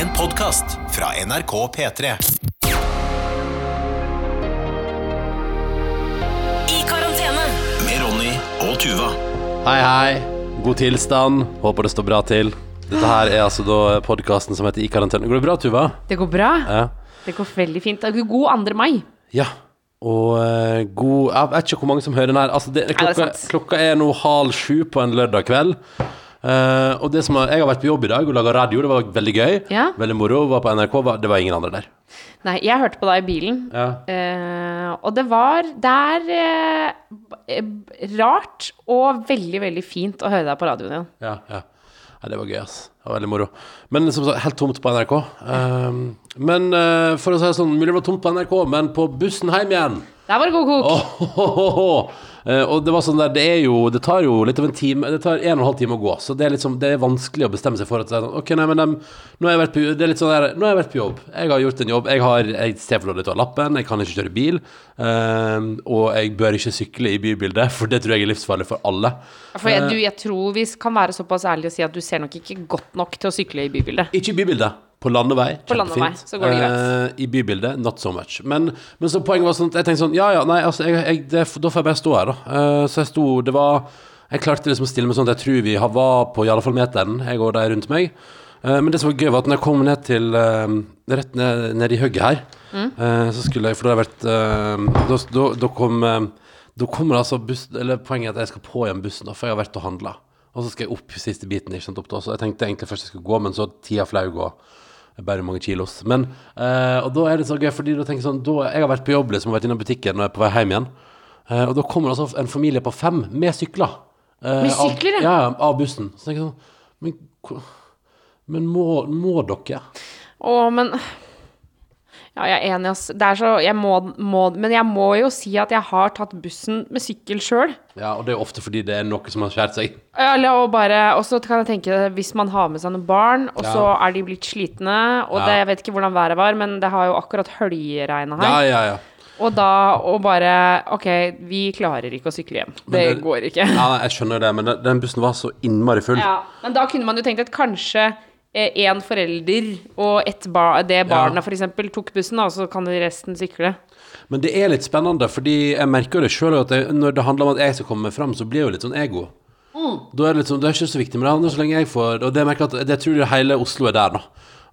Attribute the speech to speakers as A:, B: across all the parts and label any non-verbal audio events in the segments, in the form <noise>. A: En podkast fra NRK P3.
B: I karantene.
A: Med Ronny og Tuva.
C: Hei, hei. God tilstand. Håper det står bra til. Dette her er altså da podkasten som heter I karantene. Går det bra, Tuva?
D: Det går bra.
C: Ja.
D: Det går veldig fint. Det er God 2. mai.
C: ja. Og eh, god Jeg vet ikke hvor mange som hører den her. Altså, det,
D: det er
C: klokka,
D: sant.
C: klokka er nå halv sju på en lørdag kveld. Eh, og det som har, jeg har vært på jobb i dag og laga radio. Det var veldig gøy.
D: Ja.
C: Veldig moro. Var på NRK. Var, det var ingen andre der.
D: Nei, jeg hørte på deg i bilen.
C: Ja.
D: Eh, og det var Det er eh, b- eh, rart og veldig, veldig fint å høre deg på radioen igjen.
C: Ja, ja. Nei, det var gøy, ass. Det var veldig moro. Men som sagt, helt tomt på NRK. Ehm, men eh, for å si det sånn, mulig det var tomt på NRK, men på bussen hjem igjen
D: Der var det god kok.
C: Åhåhåhå. Eh, Og det var sånn der, det er jo Det tar jo litt av en time Det tar en og en halv time å gå Så det er litt sånn Det er vanskelig å bestemme seg for at det er sånn, Ok, nei, men dem, nå, har jeg vært på, det er litt sånn der, nå har jeg vært på jobb Jeg har gjort en jobb Jeg har Jeg ser for litt av lappen Jeg kan ikke kjøre bil eh, Og jeg bør ikke sykle i bybildet For det tror jeg er livsfarlig for alle
D: For jeg, du, jeg tror vi kan være såpass ærlige og si at du ser nok ikke godt nok til å sykle i bybildet.
C: Ikke i bybildet. På landevei.
D: På landevei,
C: kjempefint.
D: så går det
C: Eh, I bybildet, not so much. Men, men så poenget var sånn at jeg tenkte sånn Ja, ja, nei, altså, jeg, jeg, det, da får jeg bare stå her, da. Eh, så jeg sto Det var Jeg klarte liksom å stille meg sånn at jeg tror vi har- var på i alle fall meteren, jeg og de rundt meg. Eh, men det som var gøy, var at når jeg kom ned til eh, Rett ned, ned i hugget her,
D: Mm.
C: eh, så skulle jeg For da har jeg vært eh, da, da, da kom eh, Da kommer altså bussen Eller poenget er at jeg skal på igjen bussen, da, for jeg har vært og handla. Og så skal jeg opp siste biten. Ikke sant, opp da. Så jeg tenkte egentlig først jeg skulle gå, men så tida flaug og jeg bærer mange kilos. Men, eh, og da er det så gøy, fordi da tenker jeg sånn da, Jeg har vært på jobb, liksom, og vært innom butikken og er på vei hjem igjen. Eh, og da kommer altså en familie på fem med sykler. eh,
D: Med sykler,
C: av,
D: ja?
C: ja? Ja, av bussen. Så tenker jeg sånn Men, hvor- men må, må dere?
D: Å, men Ja, jeg er enig, ass. Det er så Jeg må, må Men jeg må jo si at jeg har tatt bussen med sykkel sjøl.
C: Ja, og det er jo ofte fordi det er noe som har skjært seg.
D: Ja, Eller og bare Og så kan jeg tenke Hvis man har med seg noen barn Og så
C: Ja.
D: er de blitt slitne Og
C: Ja.
D: det, jeg vet ikke hvordan været var Men det har jo akkurat høljeregnet her
C: Ja, ja, ja.
D: Og da Og bare Ok, vi klarer ikke å sykle hjem Det,
C: det-
D: går ikke
C: ja nei, jeg skjønner det, men den, den bussen var så innmari full.
D: <laughs> ja. Men da kunne man jo tenkt at kanskje eh, En forelder Og et bar, det barnet for eksempel Tok bussen da Og så kan de resten sykle
C: Men det er litt spennende, fordi jeg merker jo det sjøl at jeg, når det handler om at jeg skal komme meg fram, så blir jeg jo litt sånn ego.
D: Mm.
C: Da er det litt sånn, det er ikke så viktig, men det handler så lenge jeg får Og det merker jeg at det tror jeg hele Oslo er der nå.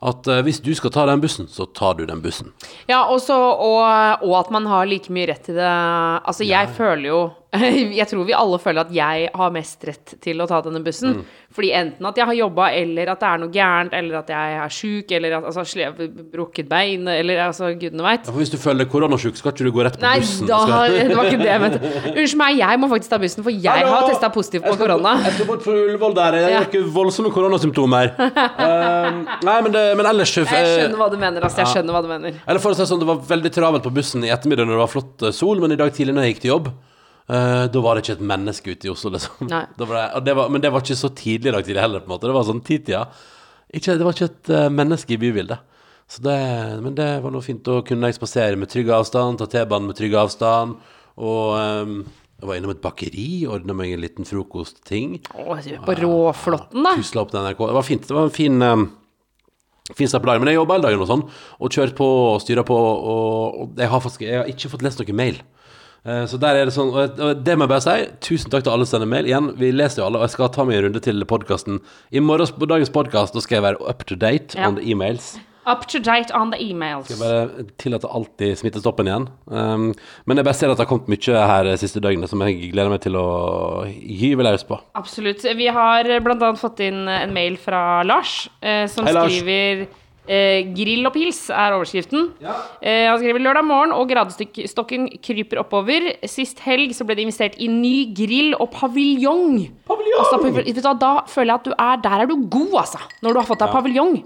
C: At eh, hvis du skal ta den bussen, så tar du den bussen.
D: Ja, og så- og, og at man har like mye rett til det. Altså, jeg føler jo <laughs> Jeg tror vi alle føler at jeg har mest rett til å ta denne bussen.
C: Mm.
D: Fordi enten at jeg har jobba, eller at det er noe gærent, eller at jeg er sjuk, eller at altså, slev, brukket bein, eller altså, gudene veit.
C: Ja, for hvis du føler deg koronasjuk, skal ikke du gå rett på
D: Nei,
C: bussen.
D: da,
C: skal... <laughs>
D: det var ikke det jeg mente. Unnskyld meg, jeg må faktisk ta bussen, for jeg
C: Hallo!
D: har testa positivt på
C: Jeg skal-
D: korona.
C: Jeg skal bort fra Ullevål der. Jeg
D: Ja.
C: har ikke voldsomme koronasymptomer.
D: <laughs>
C: Eh, nei, men, det, men ellers eh,
D: Jeg skjønner hva du mener, altså. Jeg skjønner hva du mener.
C: Eller for å si sånn, Det var veldig travelt på bussen i ettermiddag når det var flott eh, sol, men i dag tidlig når jeg gikk til jobb, eh, da var det ikke et menneske ute i Oslo, liksom.
D: Nei.
C: <laughs> Da var det, og det var, men det var ikke så tidlig i dag tidlig heller, på en måte. Det var sånn titida. Ikke, det var ikke et eh, menneske i bybildet. Så det, men det var noe fint. Da kunne jeg spasere med trygg avstand, ta T-banen med trygg avstand. Og eh, jeg var innom et bakeri, ordna meg en liten frokostting.
D: Å, du er på Råflotten, da.
C: Pusla opp til NRK. Det var fint. Det var en fin um, Fin start på dagen, men jeg jobba hele dagen og sånn, og kjørt på og styra på, og, og jeg, har faktisk, jeg har ikke fått lest noen mail. Eh, Så der er det sånn, og jeg- og det må jeg bare si, tusen takk til alle som sender mail. Igjen, vi leser jo alle, og jeg skal ta meg en runde til podkasten. I morgens på dagens podkast, da skal jeg være up to date
D: Ja.
C: on the emails.
D: Up to date on the emails.
C: Jeg bare tillater alltid smittestoppen igjen. Um, men jeg bare ser at det har kommet mye her de siste døgnet som jeg gleder meg til å gyve løs på.
D: Absolutt. Vi har bl.a. fått inn en mail fra Lars, eh, som
C: Hei, Lars.
D: skriver eh, 'Grill og pils' er overskriften. Eh, han skriver 'Lørdag morgen og gradestokken kryper oppover'. Sist helg så ble det investert i ny grill og paviljong. Altså, paviljong- vet du hva, da føler jeg at du er Der er du god, altså! Når du har fått deg paviljong.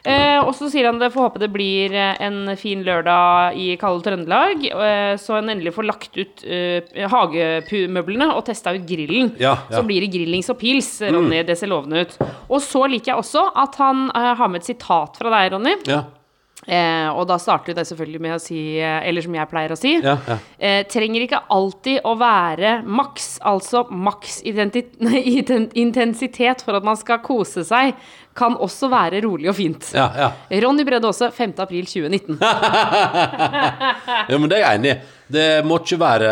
D: Eh, og så sier han det får håpe det blir eh, en fin lørdag i kalde Trøndelag, eh, så en endelig får lagt ut eh, hagemøblene og testa ut grillen.
C: Ja, ja. Mm.
D: Så blir det grillings og pils, Ronny. Det ser lovende ut. Og så liker jeg også at han eh, har med et sitat fra deg, Ronny.
C: Ja,
D: Eh, og da starter jo det selvfølgelig med å si, eh, eller som jeg pleier å si
C: ja, ja.
D: eh, Trenger ikke alltid å være <laughs> maks, altså maks identi- nei, iten- intensitet for at man skal kose seg. kan også være rolig og fint.
C: Ja, ja.
D: Ronny Brede Aase, 5. april 2019.
C: ja, men det er jeg enig i. Det må ikke være,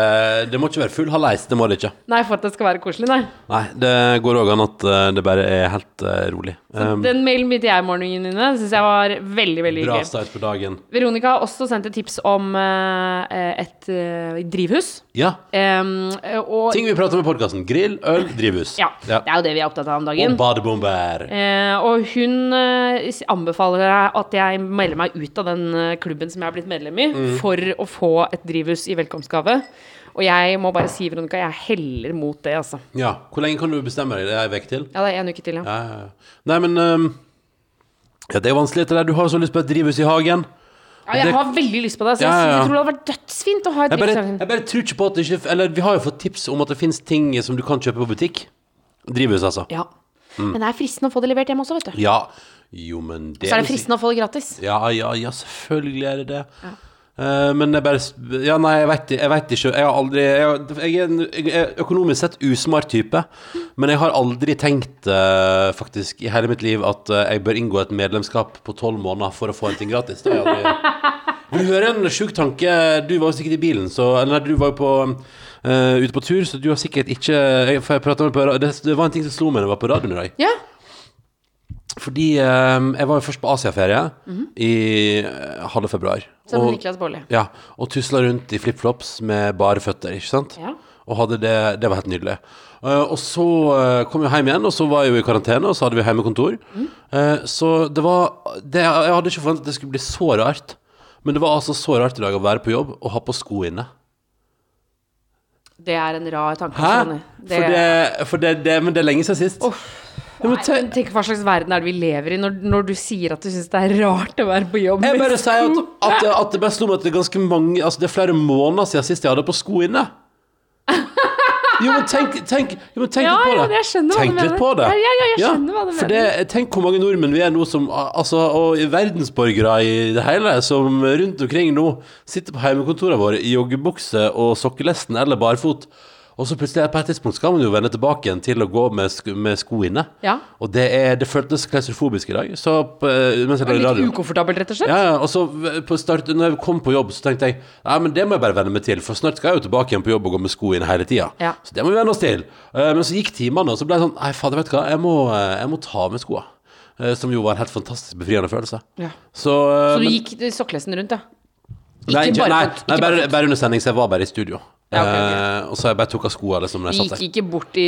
C: det må ikke være full haleis, det må det ikke.
D: Nei, for at det skal være koselig, nei.
C: Nei, det går òg an at eh, det bare er helt eh, rolig. Um,
D: Den mailen begynte jeg morgenen inne. Det syns jeg var veldig veldig
C: bra
D: hyggelig.
C: start på dagen.
D: Veronica har også sendt et tips om eh, et eh, drivhus.
C: Ja.
D: Em, og
C: Ting vi prater om i podkasten. Grill, øl, drivhus.
D: ja, det er jo det vi er opptatt av om dagen.
C: Og badebomber.
D: Eh, og hun eh, s- anbefaler deg at jeg melder meg ut av den eh, klubben som jeg har blitt medlem i,
C: Mm.
D: for å få et drivhus i velkomstgave. Og jeg må bare si, Veronica, jeg heller mot det, altså.
C: Ja. Hvor lenge kan du bestemme deg? Det er ei uke til?
D: Ja, det er en uke til, ja.
C: Ja, ja, ja. Nei, men um, ja, Det er vanskelig, det der. Du har jo så lyst på et drivhus i hagen.
D: ja jeg
C: det-
D: har veldig lyst på det. Så jeg,
C: Ja, ja, ja.
D: jeg tror det hadde vært dødsfint å ha et
C: Jeg bare,
D: drivhus. i hagen.
C: jeg bare tror ikke på at det ikke Eller vi har jo fått tips om at det finnes ting som du kan kjøpe på butikk. Drivhus, altså.
D: Ja. Men det er fristende å få det levert hjem også, vet du.
C: Ja. Jo, men det
D: Så er det fristende å få det gratis.
C: Ja, ja, ja, selvfølgelig er det det. Eh, men jeg bare Ja, nei, jeg veit jeg vet ikke. Jeg har aldri Jeg, har- jeg er en jeg er økonomisk sett usmart type, men jeg har aldri tenkt eh, faktisk i hele mitt liv at eh, jeg bør inngå et medlemskap på tolv måneder for å få en ting gratis. Det har jeg aldri Vil du høre en sjuk tanke? Du var jo sikkert i bilen, så Eller nei, du var jo på eh, ute på tur, så du har sikkert ikke jeg, For jeg pratet om det på ra- det, det var en ting som slo meg da jeg var på radioen i dag.
D: Ja.
C: Fordi eh, jeg var jo først på Asiaferie
D: Mhm.
C: i eh, halve februar.
D: Sammen med
C: og,
D: Niklas Baarli.
C: ja, og tusla rundt i flipflops med bare føtter, ikke sant?
D: Ja.
C: Og hadde det, det var helt nydelig. Eh, og så eh, kom jeg hjem igjen, og så var jeg jo i karantene, og så hadde vi hjemmekontor.
D: Mhm.
C: Eh, så det var det, Jeg hadde ikke forventet at det skulle bli så rart. Men det var altså så rart i dag å være på jobb og ha på sko inne.
D: Det er en rar tanke.
C: Hæ?
D: Sonny.
C: For, det, for det, det Men det er lenge siden sist. Ja, men
D: Nei,
C: te-
D: men Tenk hva slags verden er det vi lever i når, når du sier at du syns det er rart å være på jobb
C: Jeg bare
D: sko.
C: sier at, at, at det bare slo meg at det er ganske mange Altså det er flere måneder siden sist jeg hadde på sko inne. Jo, men tenk, tenk, jo, men tenk
D: Ja,
C: litt på
D: ja,
C: det.
D: jeg skjønner hva du
C: tenk litt
D: mener.
C: på det.
D: Ja, ja, ja, jeg skjønner hva du
C: for Det, tenk hvor mange nordmenn vi er nå som Altså, og verdensborgere i det hele, som rundt omkring nå sitter på hjemmekontorene våre i joggebukse og sokkelesten eller barfot. Og så plutselig på et tidspunkt skal man jo vende tilbake igjen til å gå med sko, med sko inne.
D: Ja.
C: Og det, er, det føltes klaustrofobisk i dag. Så eh, mens jeg lagde
D: Litt
C: radio
D: ukomfortabelt, rett og slett.
C: ja, ja, og så v- på start, når jeg kom på jobb, så tenkte jeg Nei, men det må jeg bare venne meg til, for snart skal jeg jo tilbake igjen på jobb og gå med sko inn hele tida.
D: Ja.
C: Så det må vi venne oss til. Eh, men så gikk timene, og så ble jeg sånn Nei, fader, vet du hva, jeg må, eh, jeg må ta av meg skoa. Eh, som jo var en helt fantastisk befriende følelse.
D: Ja.
C: Så, eh,
D: Så du
C: men-
D: gikk sokkelesten rundt, ja? Ikke
C: nei, ikke,
D: bare
C: nei,
D: fot,
C: nei, bare,
D: ikke bare fot.
C: bare under sending, så jeg var bare i studio.
D: Ja, ok, ok.
C: Eh, og så jeg bare tok av skoa liksom, når
D: Du
C: jeg satt
D: gikk
C: der.
D: ikke bort i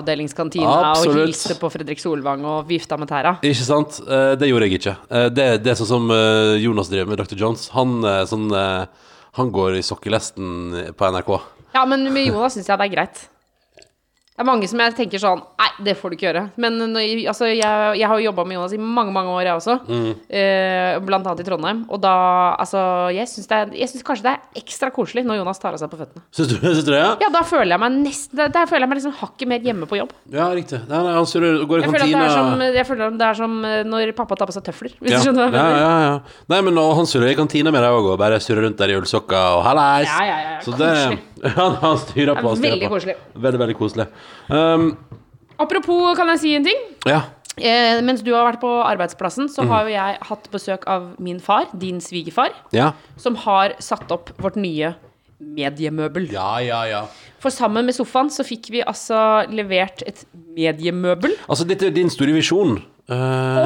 D: nyhetsavdelingskantina og
C: Absolutt.
D: hilste på Fredrik Solvang og vifta med tæra?
C: Ikke sant? Eh, det gjorde jeg ikke. Eh, det, det er sånn som eh, Jonas driver med Dr. Jones. Han, eh, sånn, eh, han går i sokkelesten på NRK.
D: Ja, men med Jonas syns jeg det er greit. Det er mange som jeg tenker sånn Nei, det får du ikke gjøre. Men når, altså, jeg, jeg har jo jobba med Jonas i mange, mange år, jeg også.
C: Mm.
D: Eh, blant annet i Trondheim. Og da Altså, jeg syns det er- jeg syns kanskje det er ekstra koselig når Jonas tar av seg på føttene.
C: Syns du, <laughs> syns du det? Ja?
D: Ja, da føler jeg meg nesten Der, der føler jeg meg liksom hakket mer hjemme på jobb.
C: Ja, riktig. Nei, nei, han surrer og går i
D: Jeg føler, at det
C: kantina.
D: er som, jeg føler at det er som eh, når pappa tar på seg tøfler, hvis
C: ja.
D: du skjønner hva jeg
C: ja,
D: mener.
C: ja, ja. Nei, men og han surrer i kantina med deg òg, og bare surrer rundt der i ullsokker og hallais.
D: Ja, ja, ja,
C: Så det <laughs> Han, han styrer på.
D: Det er
C: Han styrer
D: veldig
C: på.
D: koselig.
C: Veldig, veldig koselig. Um,
D: Apropos, kan jeg si en ting? Mhm.
C: ja.
D: Eh, mens du har vært på arbeidsplassen, så har jo jeg hatt besøk av min far, din svigerfar,
C: Ja.
D: som har satt opp vårt nye mediemøbel.
C: ja, ja, ja.
D: For sammen med sofaen så fikk vi altså levert et mediemøbel.
C: Altså, dette er din store visjon.
D: Og det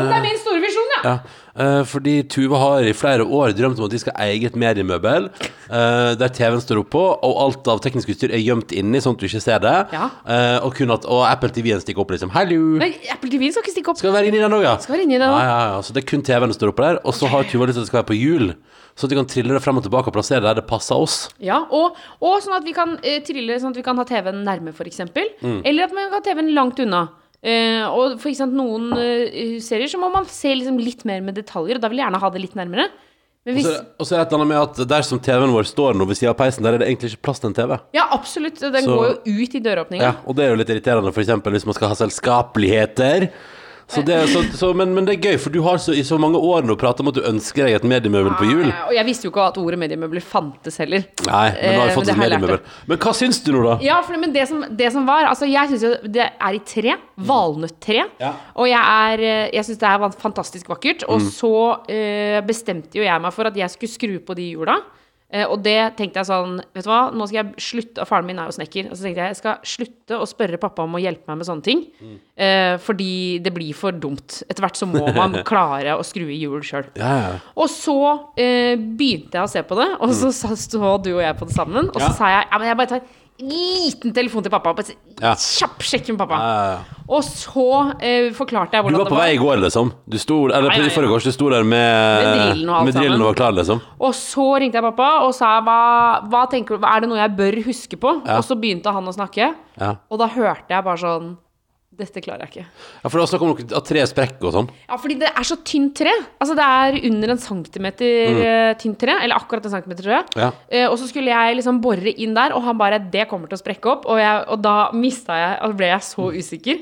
C: Uh,
D: er min store visjon, ja!
C: ja. Eh, fordi Tuva har i flere år drømt om at de skal eie et mediemøbel eh, der TV-en står oppå, og alt av teknisk utstyr er gjemt inni, sånn at du ikke ser det.
D: Ja.
C: Eh, og, kun at, og Apple TV-en stikker opp, liksom. Hallo!
D: Nei, Apple TV skal ikke stikke opp.
C: Skal være inni den òg, ja.
D: Skal være inni den også.
C: Ja, ja, ja. Så det er kun TV-en som står oppe der. Og så har Tuva lyst til at det skal være på hjul, så at du kan trille det frem og tilbake og plassere det der det passer oss.
D: Ja, og, og sånn at vi kan eh, trille Sånn at vi kan ha TV-en nærme for eksempel
C: Mm.
D: Eller at man kan ha TV-en langt unna Eh, Og for eksempel noen eh, serier Så må man se liksom litt mer med detaljer Og da vil jeg gjerne ha det litt nærmere Men
C: Og
D: hvis,
C: så er det- Og så er det et eller annet med at der som TV-en vår står nå ved siden av peisen, der er det egentlig ikke plass til en TV.
D: ja absolutt Den
C: Så-
D: går jo ut i døråpningen
C: Ja, og det er jo litt irriterende, for eksempel hvis man skal ha selskapeligheter. Så det, så, så, men, men det er gøy, for du har så, i så mange år nå prata om at du ønsker deg et mediemøbel på jul.
D: Ja, Eh, Og jeg visste jo ikke at ordet mediemøbler fantes heller.
C: Nei, men nå har
D: Eh,
C: jeg fått
D: men det
C: et
D: har jeg lært
C: mediemøbel. Men hva syns du nå, da?
D: Ja, for, men det som, det som var Altså, jeg syns jo det er i tre. Valnøttre.
C: Mm. Ja. Mm.
D: Og jeg, er, eh, jeg syns det er van- fantastisk vakkert. Og så eh, bestemte jo jeg meg for at jeg skulle skru på de hjula. Eh, og det tenkte jeg sånn Vet du hva, nå skal jeg slutte og Faren min er jo snekker. Og så tenkte jeg jeg skal slutte å spørre pappa om å hjelpe meg med sånne ting.
C: Mm.
D: Eh, fordi det blir for dumt. Etter hvert så må
C: <laughs>
D: man klare å skru i hjul sjøl.
C: Ja, ja.
D: Og så eh, begynte jeg å se på det, og så sa- så du og jeg på det sammen. Og
C: Mm. Ja.
D: så sa jeg ja, men jeg bare tar en liten telefon til pappa. Bare
C: Ja.
D: ja. Kjapp sjekk med pappa.
C: Ja, ja, ja.
D: Og så eh, forklarte jeg
C: Du
D: hvordan
C: var på vei i
D: det var.
C: går, liksom? Du sto, eller
D: Nei, nei,
C: i forrige gårs, du sto der med,
D: Med drillen og alt
C: med drillen
D: sammen.
C: og var klar, liksom?
D: Og så ringte jeg pappa og sa hva, hva tenker du, hva er det noe jeg bør huske på?
C: Ja.
D: Og så begynte han å snakke,
C: Ja.
D: og da hørte jeg bare sånn Dette klarer jeg ikke.
C: ja for det var snakk om noe av tre sprekker og sånn.
D: Ja, fordi det er så tynt tre. Altså det er under en centimeter eh, tynt tre. Eller akkurat en centimeter, tror jeg.
C: Mm. Ja.
D: Eh, og så skulle jeg liksom bore inn der, og han bare 'Det kommer til å sprekke opp'. Og, jeg, og da mista jeg altså ble jeg så
C: Mm.
D: usikker.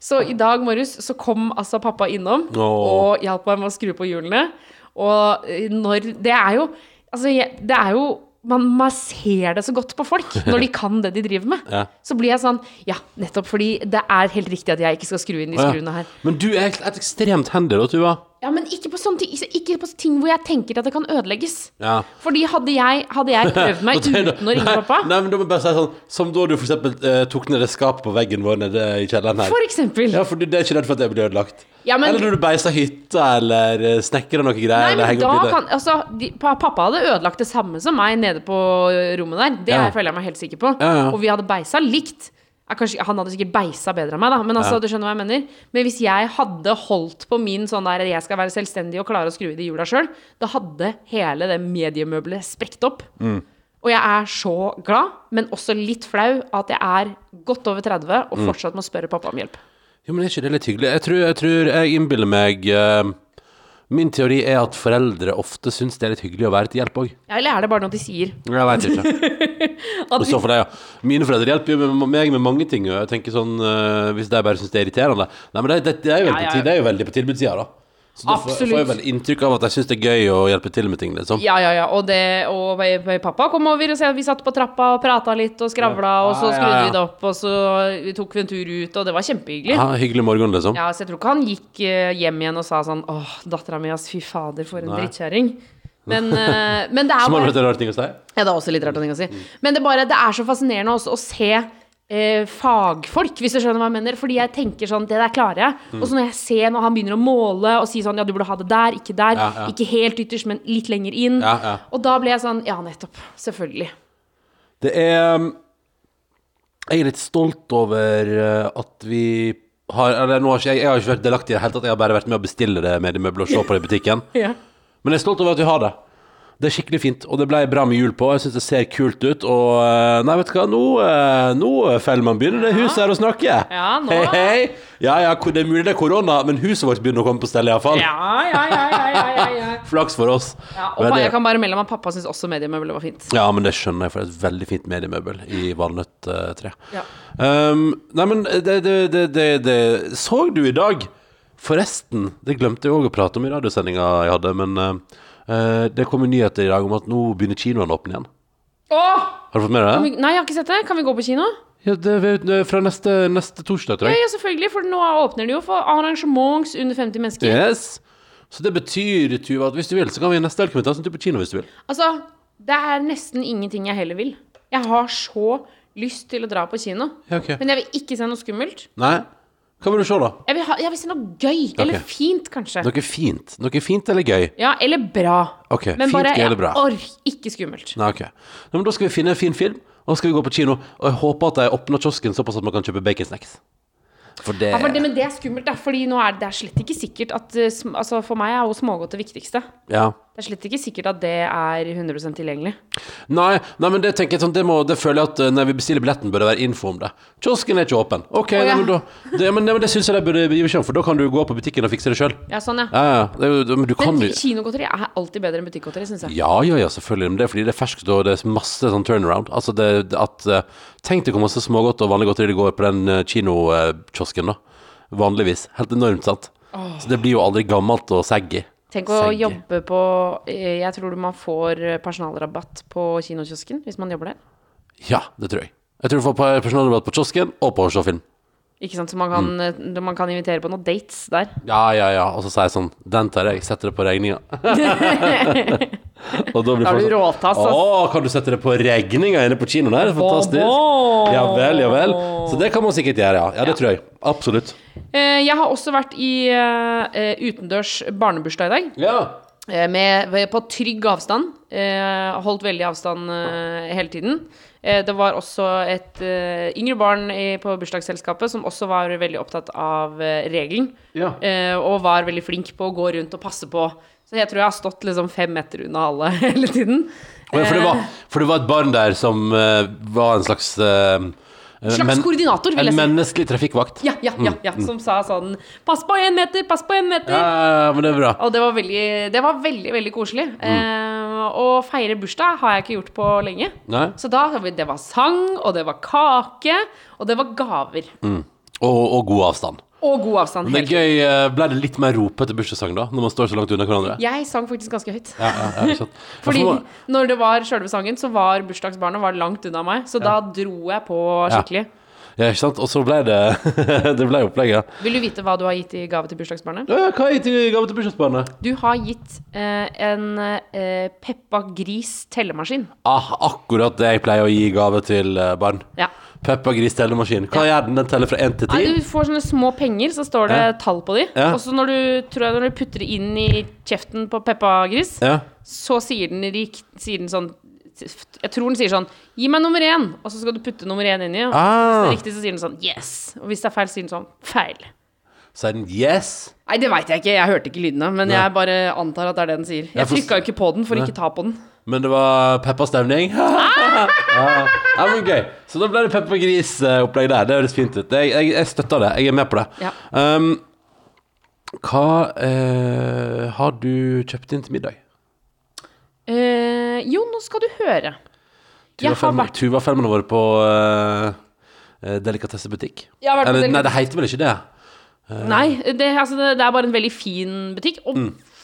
D: Så i dag morges så kom altså pappa innom
C: Åh.
D: og hjalp meg med å skru på hjulene. Og eh, når Det er jo Altså, jeg, det er jo man, man ser det så godt på
C: <laughs>
D: folk når de kan det de driver med.
C: Ja.
D: Så blir jeg sånn Ja, nettopp fordi det er helt riktig at jeg ikke skal skru inn de
C: Å, ja.
D: skruene her.
C: Men du er et ekstremt handy, da, Tuva.
D: Ja, men ikke på, sånne ting, ikke på ting hvor jeg tenker at det kan ødelegges.
C: Ja.
D: Fordi hadde jeg, hadde jeg prøvd
C: <laughs>
D: meg
C: Da tenker du-
D: uten å ringe pappa,
C: Nei, men da må jeg bare si sånn Som da du for eksempel eh, tok ned det skapet på veggen vår nede i kjelleren her.
D: for eksempel
C: Ja, for du- det er ikke redd for at det blir ødelagt.
D: Ja, men-
C: Eller når du beiser hytta, eller eh, snekrer noe greier.
D: Nei,
C: eller henger
D: men da
C: opp i det.
D: kan altså, de, pa- Pappa hadde ødelagt det samme som meg nede på rommet der. Det
C: Ja.
D: føler jeg meg helt sikker på.
C: Ja, ja.
D: Og vi hadde beisa likt. Ja, Kanskje, han hadde sikkert beisa bedre enn meg, da, men altså, du skjønner hva jeg mener. Men hvis jeg hadde holdt på min sånn der jeg skal være selvstendig og klare å skru i de hjula sjøl, da hadde hele det mediemøbelet sprukket opp.
C: Mm.
D: Og jeg er så glad, men også litt flau, at jeg er godt over 30
C: Mm.
D: og fortsatt må spørre pappa om hjelp.
C: Jo, men er ikke det litt hyggelig? Jeg tror jeg, tror jeg innbiller meg eh, Min teori er at foreldre ofte syns det er litt hyggelig å være til hjelp òg.
D: Ja, eller er det bare noe de sier?
C: Jeg veit ikke.
D: At
C: <laughs> Og så for deg, ja. Mine foreldre hjelper jo med- meg med mange ting. Og jeg tenker sånn, eh, Hvis de bare syns det er irriterende Nei, men det, det, det, er, jo
D: Ja,
C: veldig
D: ja.
C: på, ti- det er jo veldig på tilbudssida, da. Så da får,
D: Absolutt.
C: får jeg vel inntrykk av at de syns det er gøy å hjelpe til med ting, liksom.
D: Ja, ja, ja. Og, det, og pappa kom over, og så vi satt på trappa og prata litt og skravla, og
C: Ja,
D: så
C: ja,
D: skrudde
C: ja.
D: vi det opp, og så tok vi en tur ut, og det var kjempehyggelig.
C: Ja, hyggelig morgen, liksom.
D: Ja, så jeg tror ikke han gikk eh, hjem igjen og sa sånn Åh, dattera mi, ass, fy fader, for en
C: Nei.
D: drittkjerring. Men, eh, men det er
C: Som har
D: bare
C: vært en rar ting å si.
D: ja, det er også litt rart å tenke å si. Men det, er bare, det er så fascinerende også å se eh, fagfolk, hvis du skjønner hva jeg mener. Fordi jeg tenker sånn, det der klarer jeg.
C: Mm.
D: Og så når jeg ser når han begynner å måle og si sånn, ja, du burde ha det der, ikke der.
C: Ja, ja.
D: Ikke helt ytterst, men litt lenger inn.
C: Ja, ja.
D: Og da ble jeg sånn, ja, nettopp. Selvfølgelig.
C: Det er um, Jeg er litt stolt over eh, at vi har Eller nå har ikke jeg, jeg har ikke vært delaktig i det hele tatt, jeg har bare vært med å bestille det mediemøblet og se på det i
D: <laughs>
C: butikken.
D: Ja.
C: Men jeg er stolt over at vi har det. Det er skikkelig fint, og det ble bra med hjul på. Jeg syns det ser kult ut. Og eh, nei, vet du hva, nå, eh, nå Fellmann, begynner det huset her å snakke.
D: Ja, nå.
C: Hei, hei. Ja, ja, ko- det er mulig det er korona, men huset vårt begynner å komme på stell, iallfall.
D: Ja, ja, ja, ja, ja, ja, ja.
C: Flaks for oss.
D: ja og
C: Men uh,
D: pa-
C: det-
D: jeg kan bare melde meg at pappa syns også mediemøbler var fint.
C: Ja, men det skjønner jeg, for det er et veldig fint mediemøbel i valnøtttre.
D: Ja.
C: Um, nei, men det, det, det, det, det Så du i dag, forresten Det glemte jeg òg å prate om i radiosendinga jeg hadde, men eh, eh, det kom jo nyheter i dag om at nå begynner kinoene å åpne igjen.
D: Åh!
C: Har du fått med deg det?
D: Nei, jeg har ikke sett det. Kan vi gå på kino?
C: Ja, det er jo fra neste, neste torsdag, tror
D: Ja,
C: jeg.
D: ja, selvfølgelig, for nå åpner det jo for arrangements under 50 mennesker.
C: Yes. Så det betyr, Tuva, at hvis du vil, så kan vi neste helg komme ta oss en tur på kino hvis du vil.
D: Altså, det er nesten ingenting jeg heller vil. Jeg har så lyst til å dra på kino.
C: Ja, ok.
D: Men jeg vil ikke se noe skummelt.
C: Nei? Hva vil du se, da?
D: Jeg vil, ha, jeg vil se noe gøy. Eller
C: Ok.
D: fint, kanskje.
C: Noe fint. Noe fint eller gøy?
D: Ja, eller bra.
C: Ok,
D: Men
C: fint,
D: bare
C: gøy eller bra.
D: Jeg ork, ikke skummelt.
C: Nei, ok. Nei, men da skal vi finne en fin film, og så skal vi gå på kino. Og jeg håper at de åpner kiosken såpass at man kan kjøpe baconsnacks. For det
D: Ja, for det, men det er skummelt, da. Fordi nå er det, det er slett ikke sikkert at eh, sm- Altså, for meg er jo smågodt det viktigste.
C: Ja.
D: Det er slett ikke sikkert at det er 100 tilgjengelig.
C: Nei, nei, men det tenker jeg sånn, det, må, det føler jeg at eh, når vi bestiller billetten, bør det være info om det. Kiosken er ikke åpen. Ok,
D: Å, ja.
C: nei, men da, det, men, nei, men det syns jeg de burde gi beskjed om, for da kan du gå på butikken og fikse det sjøl.
D: Ja, sånn, ja.
C: Ja, ja. Det, er jo- men du kan
D: Men
C: jo
D: kinogodteri er alltid bedre enn butikkgodteri, syns jeg.
C: Ja, ja, ja, selvfølgelig. Men det er fordi det er ferskt, og det er masse sånn turnaround. Altså det, det at eh, Tenk deg hvor masse smågodt og vanlig godteri det går på den eh, kinokiosken, da. vanligvis. Helt enormt, sant? Så det blir jo aldri gammelt og saggy.
D: Tenk å
C: Segge.
D: jobbe på eh, Jeg tror man får eh, personalrabatt på kinokiosken hvis man jobber der.
C: Ja, det tror jeg. Jeg tror du får pe- personalrabatt på kiosken og på å se film.
D: Ikke sant, Så man kan, eh, man kan invitere på noen dates der.
C: Ja, ja, ja. Og så sier jeg sånn Den tar jeg. Setter det på regninga. og da blir
D: Da har
C: folk
D: du
C: sånn,
D: råtass, ass.
C: Å, kan du sette det på regninga inne på kinoen her? Det er Fantastisk.
D: Bo-bo.
C: Ja vel, ja vel. Så det kan man sikkert gjøre, ja. Ja, det tror jeg. Absolutt.
D: Eh, Jeg har også vært i eh, eh, utendørs barnebursdag i dag.
C: Ja.
D: Eh, med, på trygg avstand. Eh, holdt veldig avstand eh, hele tiden. Eh, det var også et eh, yngre barn i, på bursdagsselskapet som også var veldig opptatt av eh, regelen.
C: Ja.
D: Eh, og var veldig flink på å gå rundt og passe på. Så jeg tror jeg har stått liksom fem meter unna alle <laughs> hele tiden.
C: Og ja, for, det
D: Eh.
C: var, for det var et barn der som eh, var en slags eh,
D: Slags koordinator, vil
C: En
D: jeg si.
C: menneskelig trafikkvakt.
D: Ja, ja, ja, ja, som sa sånn Pass på én meter, pass på én meter!
C: Mm. Ja, men det er bra.
D: Og det var veldig, det var veldig, veldig koselig.
C: Mm.
D: Eh, og feire bursdag har jeg ikke gjort på lenge.
C: Nei?
D: Så da, har vi- det var sang, og det var kake, og det var gaver.
C: Og, og god avstand.
D: Og god avstand.
C: Men det er
D: Helt.
C: gøy. eh, Ble det litt mer ropete bursdagssang da, når man står så langt unna hverandre?
D: Jeg sang faktisk ganske høyt.
C: Ja, ja, ja, ikke sant.
D: Fordi
C: Ja, for nå-
D: når det var sjølve sangen, så var bursdagsbarnet var langt unna meg. Så da dro jeg på skikkelig.
C: Ja, ikke sant? Og så ble det <laughs> Det ble opplegget.
D: Vil du vite hva du har gitt i gave til bursdagsbarnet?
C: Ja, ja, hva er til gave til bursdagsbarnet?
D: Du har gitt eh, en eh, Peppa Gris tellemaskin.
C: Ah, akkurat det jeg pleier å gi gave til eh, barn.
D: Ja.
C: Peppa Gris tellemaskin. Hva gjør den? Den teller fra én til ti?
D: Nei, du får sånne små penger, så står det
C: Ja.
D: tall på de.
C: Ja.
D: Og så når du, tror jeg, når du putter det inn i kjeften på Peppa Gris,
C: Ja.
D: så sier den, rikt, sier den sånn Jeg tror den sier sånn Gi meg nummer én! Og så skal du putte nummer én inni. Og hvis det
C: Ah,
D: er riktig, så sier den sånn Yes! Og hvis det er feil, sier den sånn Feil.
C: Sier den yes?
D: Nei, det veit jeg ikke. Jeg hørte ikke lydene. Men jeg bare antar at det er det den sier. Jeg
C: får-
D: trykka jo ikke på den for ikke ta på den.
C: Men det var Peppa-stemning. <laughs> ja, ja, men gøy. Så da ble det Peppa Gris-opplegg der. Det høres fint ut. Jeg, jeg, jeg støtter det. Jeg er med på det.
D: Ja.
C: Um, hva eh, har du kjøpt inn til middag?
D: Eh, jo, nå skal du høre. Jeg har vært
C: Tuva-filmene våre på eh, eh, delikatessebutikk.
D: Jeg har vært på
C: Eller, Nei,
D: delikates-
C: det heter vel ikke det.
D: Nei, det, altså, det, det er bare en veldig fin butikk. Og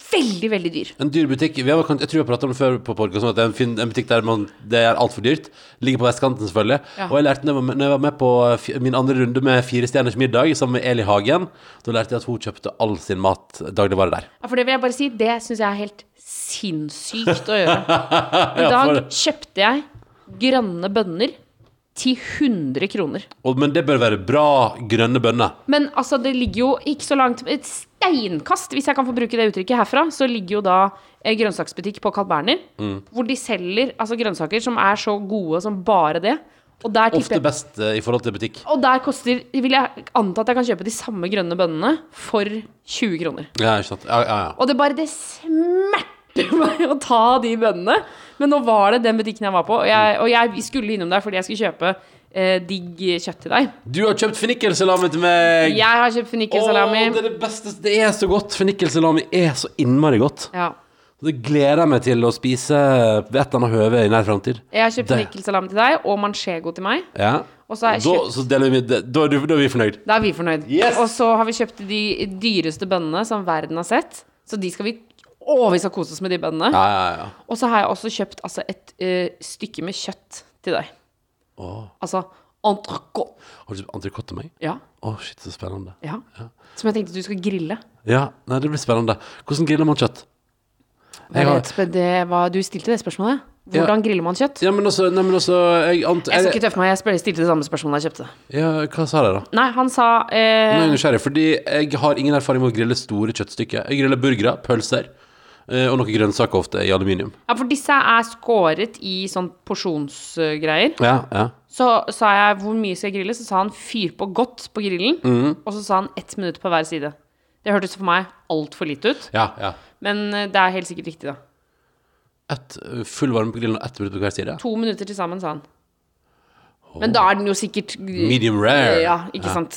D: veldig, veldig dyr.
C: En dyr butikk. Vi har, kan- jeg tror vi har pratet om det før på podcasten, at det er en, fin, en butikk der man, det er altfor dyrt. Ligger på vestkanten, selvfølgelig.
D: Ja.
C: Og jeg lærte, når jeg var med- når jeg var med på eh, fi- min andre runde med Fire stjerners middag sammen med Eli Hagen, da lærte jeg at hun kjøpte all sin mat dagligvare der.
D: Ja, for det vil jeg bare si, det syns jeg er helt sinnssykt å
C: <laughs>
D: gjøre. I dag
C: for-
D: kjøpte jeg grønne bønner til 100 kroner.
C: Og, men det bør være bra grønne bønner.
D: Men altså, det ligger jo ikke så langt Et steinkast, hvis jeg kan få bruke det uttrykket herfra, så ligger jo da en grønnsaksbutikk på Carl Berner,
C: Mm.
D: hvor de selger altså, grønnsaker som er så gode som bare det. Og der tipper
C: Ofte
D: jeg
C: best eh, i forhold til butikk.
D: og der koster, vil jeg anta at jeg kan kjøpe de samme grønne bønnene for 20 kroner.
C: Ja, ikke sant. Ja, ja, ja.
D: Og det bare det smerter <laughs> meg å ta de bønnene. Men nå var det den butikken jeg var på, og jeg, og jeg skulle innom der fordi jeg skulle kjøpe eh, digg kjøtt til deg.
C: Du har kjøpt fennikelsalami til meg!
D: Jeg har kjøpt fennikelsalami.
C: Åh, det er det beste. Det er så godt. Fennikelsalami er så innmari godt.
D: Ja.
C: Så det gleder jeg meg til å spise ved et eller annet høve i nær framtid.
D: Jeg har kjøpt
C: Det.
D: fennikelsalami til deg og manchego til meg.
C: Ja.
D: Og så har jeg
C: da,
D: kjøpt-
C: så deler vi, da, er du- da er vi fornøyd.
D: Da er vi fornøyd.
C: Yes!
D: Og så har vi kjøpt de dyreste bønnene som verden har sett. Så de skal vi Å, vi skal kose oss med de bønnene.
C: Ja, ja, ja.
D: Og så har jeg også kjøpt altså, et eh, stykke med kjøtt til deg. Altså entrecôte.
C: Har du kjøpt entrecôte til meg?
D: Ja.
C: Å, shit, så spennende.
D: Ja. Som jeg tenkte du skulle grille.
C: Ja, nei, det blir spennende. Hvordan griller man kjøtt? Jeg har,
D: Det sp- det var, du stilte det spørsmålet.
C: Ja.
D: Hvordan griller man kjøtt?
C: ja, men altså, nei, men altså jeg, ant,
D: Jeg skal
C: jeg,
D: ikke tøffe meg, jeg spør- stilte det samme spørsmålet jeg kjøpte.
C: ja, Hva sa jeg da?
D: Nei, han sa
C: Nå er
D: eh,
C: jeg nysgjerrig, fordi jeg har ingen erfaring med å grille store kjøttstykker. Jeg griller burgere, pølser eh, og noen grønnsaker ofte i aluminium.
D: Ja, for disse er skåret i sånn porsjonsgreier.
C: Ja, ja.
D: Så sa jeg hvor mye skal jeg grille, så sa han fyr på godt på grillen.
C: Mhm.
D: Og så sa han ett minutt på hver side. Det hørtes for meg altfor lite ut,
C: ja, ja.
D: men eh, det er helt sikkert riktig, da.
C: Et, eh, full varme på grillen og ett minutt på hver side.
D: To minutter til sammen, sa han. Men da er den jo sikkert
C: Medium rare.
D: Eh, Ja, ikke sant.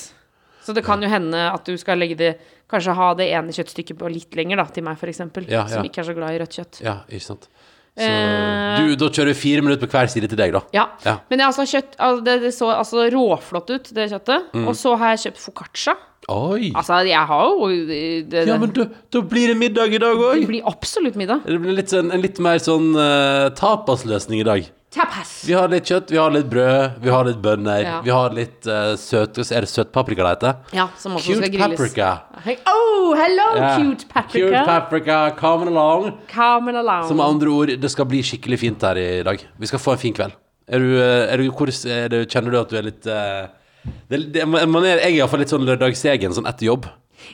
D: Så det kan jo hende at du skal legge det Kanskje ha det ene kjøttstykket på litt lenger, da, til meg, f.eks., eksempel
C: Ja, ja.
D: som ikke er så glad i rødt kjøtt.
C: Ja, ikke sant. Så,
D: Eh.
C: du, da kjører vi fire minutter på hver side til deg, da.
D: Ja.
C: Ja. Mm.
D: Men det, er altså kjøtt, altså det, det så altså råflott ut, det kjøttet. Og så har jeg kjøpt foccaccia.
C: Oi.
D: Altså, jeg har jo det, det,
C: Ja, men da, da blir det middag i dag
D: det
C: òg.
D: blir absolutt middag.
C: Det blir litt sånn, en litt mer sånn eh, tapasløsning i dag.
D: Tapas.
C: Vi har litt kjøtt, vi har litt brød, vi har litt bønner,
D: Ja.
C: vi har litt eh, søt Er det søtpaprika det heter?
D: Ja, som også
C: Cute
D: skal grilles.
C: paprika.
D: Hei- Oh, hello,
C: Ja.
D: cute
C: Cute
D: paprika.
C: paprika, coming along.
D: Carmen
C: Så
D: Alone.
C: med andre ord, det skal bli skikkelig fint her i dag. Vi skal få en fin kveld. Er du, eh, er du, hvor, er du Kjenner du at du er litt eh, det, det, man er, Jeg er iallfall litt sånn lørdagsegen, sånn etter jobb.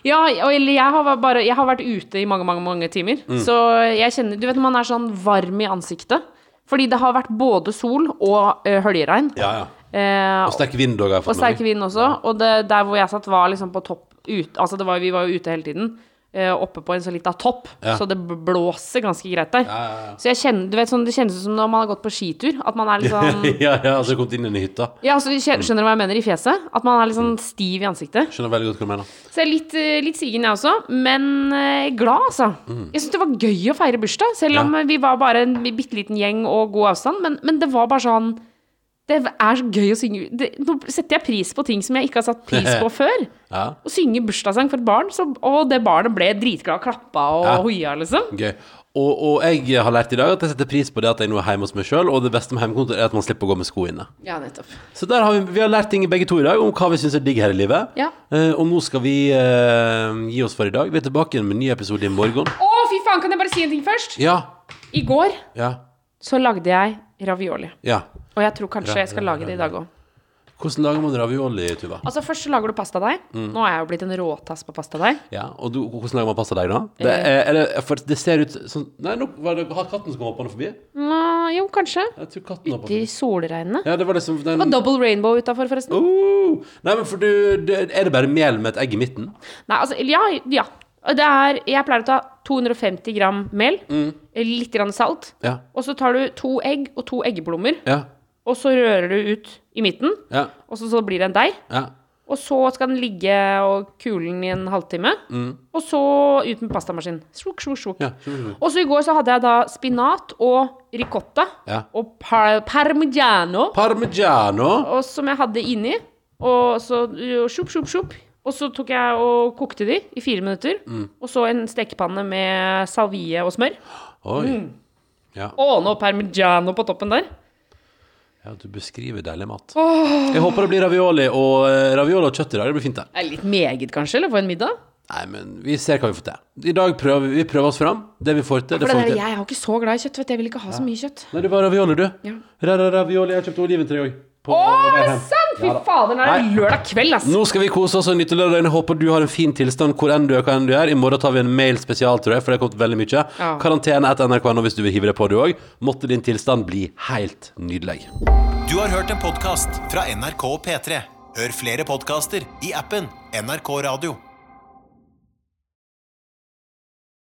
D: Ja, og eller jeg har, vært bare, jeg har vært ute i mange, mange, mange timer.
C: Mm.
D: Så jeg kjenner Du vet når man er sånn varm i ansiktet? Fordi det har vært både sol og uh, høljeregn. Eh,
C: Og sterk vind òg, har jeg
D: og
C: fått med
D: sterk
C: meg.
D: vind også. Og det, der hvor jeg satt, var liksom på topp ut, Altså, det var, vi var jo ute hele tiden. eh, oppe på en så lita topp,
C: Ja.
D: så det bl- blåser ganske greit der.
C: ja, ja.
D: Så jeg kjenner, du vet, sånn, det kjennes ut som når man har gått på skitur.
C: <laughs>
D: At man er litt sånn
C: ja, ja, altså, og så kom du inn i hytta.
D: Ja, så skjø- skjønner du hva jeg mener i fjeset? At man er litt
C: Mm.
D: sånn stiv i ansiktet.
C: Skjønner veldig godt hva du mener.
D: Så jeg er litt, eh, litt sigen, jeg også, men eh, glad, altså. Jeg syns det var gøy å feire bursdag, selv om
C: Mm. Ja.
D: eh, vi var bare en bitte liten gjeng og god avstand. Men, men det var bare sånn Det er så gøy å synge det, Nå setter jeg pris på ting som jeg ikke har satt pris
C: <laughs>
D: på før.
C: Ja,
D: Å synge bursdagssang for et barn, så, og det barnet ble dritglad og klappa og
C: Ja.
D: hoia, liksom.
C: gøy. Og, og jeg har lært i dag at jeg setter pris på det at jeg nå er hjemme hos meg sjøl, og det beste med hjemmekontor er at man slipper å gå med sko inne.
D: Ja, nettopp.
C: Så der har vi, vi har lært ting begge to i dag om hva vi syns er digg her i livet.
D: Ja.
C: Eh, og nå skal vi eh, gi oss for i dag. Vi er tilbake igjen med en ny episode i morgen.
D: Å, fy faen, kan jeg bare si en ting først?
C: Ja.
D: I går
C: Ja.
D: så lagde jeg ravioli.
C: ja.
D: Og jeg tror kanskje jeg skal lage det i dag òg.
C: Hvordan lager man ravioli, Tuva?
D: Altså Først så lager du pastadeig.
C: Mm.
D: Nå er jeg jo blitt en råtass på pastadeig.
C: Ja, og du, hvordan lager man pastadeig da? Det, er, er det, for det ser ut sånn Nei, nå var det har katten som kom hoppende forbi.
D: Nå, jo, kanskje.
C: Jeg tror katten hoppet
D: Ute i
C: forbi.
D: solregnet.
C: Ja, det var liksom
D: Og
C: den
D: double rainbow utafor, forresten.
C: oh, Nei, men for du det, Er det bare mel med et egg i midten?
D: Nei, altså Ja. ja. Og Det er, jeg pleier å ta 250 gram mel, litt grann salt,
C: Mm. Ja.
D: og så tar du to egg og to eggeblommer,
C: Ja.
D: og så rører du ut i midten,
C: Ja.
D: og så, så blir det en deig.
C: Ja.
D: Og så skal den ligge og kulen i en halvtime. Og så ut med pastamaskin. Svok, svok, svok.
C: Mm. Ja, svok, svok.
D: Og så i går så hadde jeg da spinat og ricotta
C: Ja.
D: og par parmigiano.
C: Parmigiano.
D: Og som jeg hadde inni. Og så jo, sjopp, sjopp, sjopp. Og så tok jeg og kokte de i fire minutter.
C: Mm.
D: Og så en stekepanne med salvie og smør.
C: Oi. Ja.
D: Og noe parmigiano på toppen der.
C: Ja, du beskriver deilig mat. Jeg håper det blir ravioli og, eh, ravioli og kjøtt i dag. Det blir fint, det.
D: Det er litt meget, kanskje, eller for en middag.
C: Nei, men vi ser hva vi får til. I dag prøver vi- vi prøver oss fram. Det vi får til, det
D: For det
C: får vi
D: der,
C: til.
D: jeg er jo ikke så glad i kjøtt, vet du. Jeg vil ikke ha så mye kjøtt.
C: Nei, det var ravioli, du.
D: Ja.
C: Ra- ra- Ravioli. Jeg kjøpte oliventre òg.
D: Å, er det sant? Fy fader, nå er det lørdag kveld, ass.
C: Nå skal vi kose oss og nyte lørdagen. Jeg håper du har en fin tilstand hvor enn du er, hva enn du er. I morgen tar vi en mail spesial, tror jeg, for det har kommet veldig mye.
D: Ja.
C: Karantene etter nrk.no hvis du vil hive deg på, du òg. Måtte din tilstand bli helt nydelig.
A: Du har hørt en podcast fra NRK P3. Hør flere podcaster i appen NRK Radio.